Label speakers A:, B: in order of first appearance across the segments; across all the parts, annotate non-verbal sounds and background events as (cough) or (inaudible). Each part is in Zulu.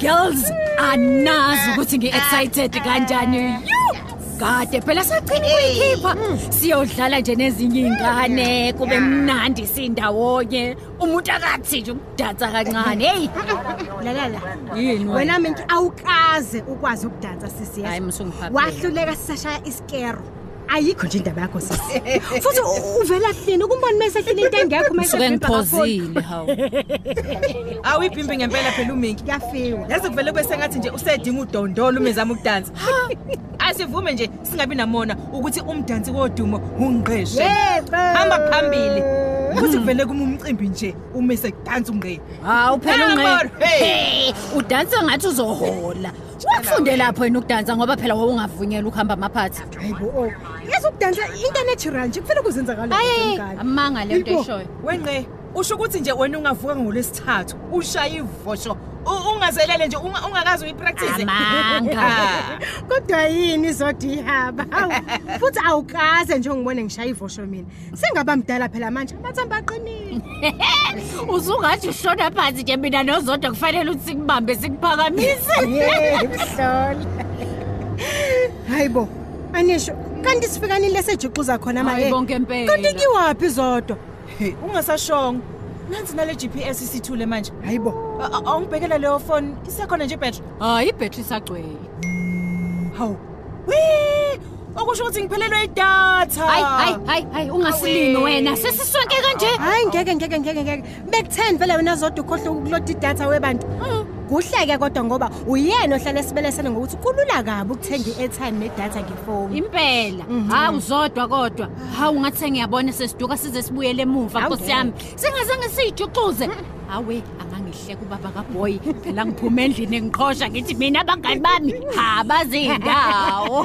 A: girls anazi ukuthi ngi-excited kanjani Yu! kade phela sacina ukuyikhipha siyodlala nje nezinye iy'ngane kube mnandi sindawonye umuntu akathi nje ukudansa kancane heyi
B: lalala
A: yini wena
B: wena minki awukaze ukwazi ukudansa sisi
A: Hayi, musu ngiphaphile.
B: wahluleka sisashaya isikero ayikho nje indaba yakho sisi futhi u- uvela kulini ukumboni umesehlini into engekho
A: suke ngiphozile hawu
C: awuyibhimbi ngempela phela uminki
B: kuyafiwa
C: yaze kuvele kube sengathi nje usedinga udondolo umezama ukudansa asivume nje singabi namona ukuthi umdansi wodumo ungqeshe
B: yebo
C: hamba phambili ukuthi kuvele kuma umcimbi nje ume sekudansa umngqe
A: hawu phela
C: Yabona,
A: unqe
C: hey.
A: udansa ngathi uzohola wafunde lapho yena ukudansa ngoba phela wawungavunyelwa ukuhamba amaphathi
B: hayibo yazi ukudansa into enatural nje kufele kuzenzakalomngane
A: amanga le nto
B: Yebo.
A: eshoyo
C: wengqe usho ukuthi nje wena ungavuka ngolwesithathu ushaye ivosho U- ungazelele nje unga- ungakazi uyipractice (laughs)
A: amanga
B: kodwa yini izode ihaba hawu futhi awukaze nje ungibone ngishaya ivosho mina sengaba mdala phela manje amathambo aqinile
A: (laughs) usungathi ushona phansi nje mina nozodwa kufanele ukuthi sikubambe
B: (laughs)
A: sikuphakamise
B: mhlola hayi bo anisho kanti sifikanile sejuxuza khona
A: Hayi
B: maye
A: bonke impela.
B: eh, kanti kiwaphi zodwa
C: Hey, ungasashongo nansi nale gps isithule manje
B: hayi bo
C: A- a- awungibhekela leyo foni isekhona nje ibhetri
A: hayi ibhetri isagcwele
C: hawu wi okusho ukuthi ngiphelelwe idatha
B: Ah.
A: hayi hayi hayi hayi ungasilimi
C: Awe.
A: wena sesisonke kanje
B: hayi ngeke ngeke ngeke ngeke bekutheni vele wena zodwa ukhohle ukuloda idatha webantu kuhleke kodwa ngoba uyena ohlala esibelesele ngokuthi kulula kabi ukuthenga i-airtime nedatha ngefoni
A: impela
B: ah. Mhm.
A: hawu zodwa kodwa hawu ngathi sengiyabona sesiduka size sibuyele emuva
B: Hawu eh.
A: nkosi yami singazange siyijuxuze awe angangihleka ubaba kabhoyi phela ngiphume endlini engiqhosha ngithi mina abangani
B: (laughs)
A: bami abazindawo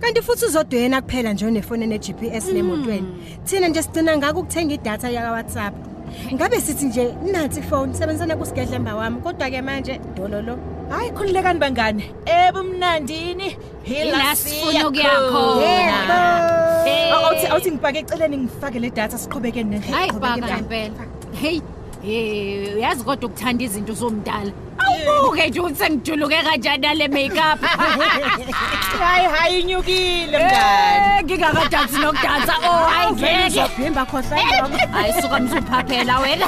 B: kanti futhi uzodwa yena kuphela nje onefoni ene-g p s nemotweni thina nje sigcina ngako ukuthenga idatha yakawhatsapp ngabe sithi nje nansi ifoni sebenzisana kusigedlemba wami kodwa-ke manje dololo
C: hayi khululekani bangane ebumnandini
A: Ila sifuna ukuya khona. Hey.
C: awuthi ngibhake eceleni ngifake le datha siqhubeke nendlela
A: hayi
B: Qhubeka
A: baka
B: njalo.
A: impela heyi Eh, uyazi kodwa ukuthanda izinto zomdala awubuke nje ukuthi sengijuluke kanjani nale makeup
C: hayi hayi inyukile mngane
A: Eh, ngingakadansi nokudansa oh Eh, hayi ngeke
B: bhimba khohlwa
A: hayi suka mzuphaphela wena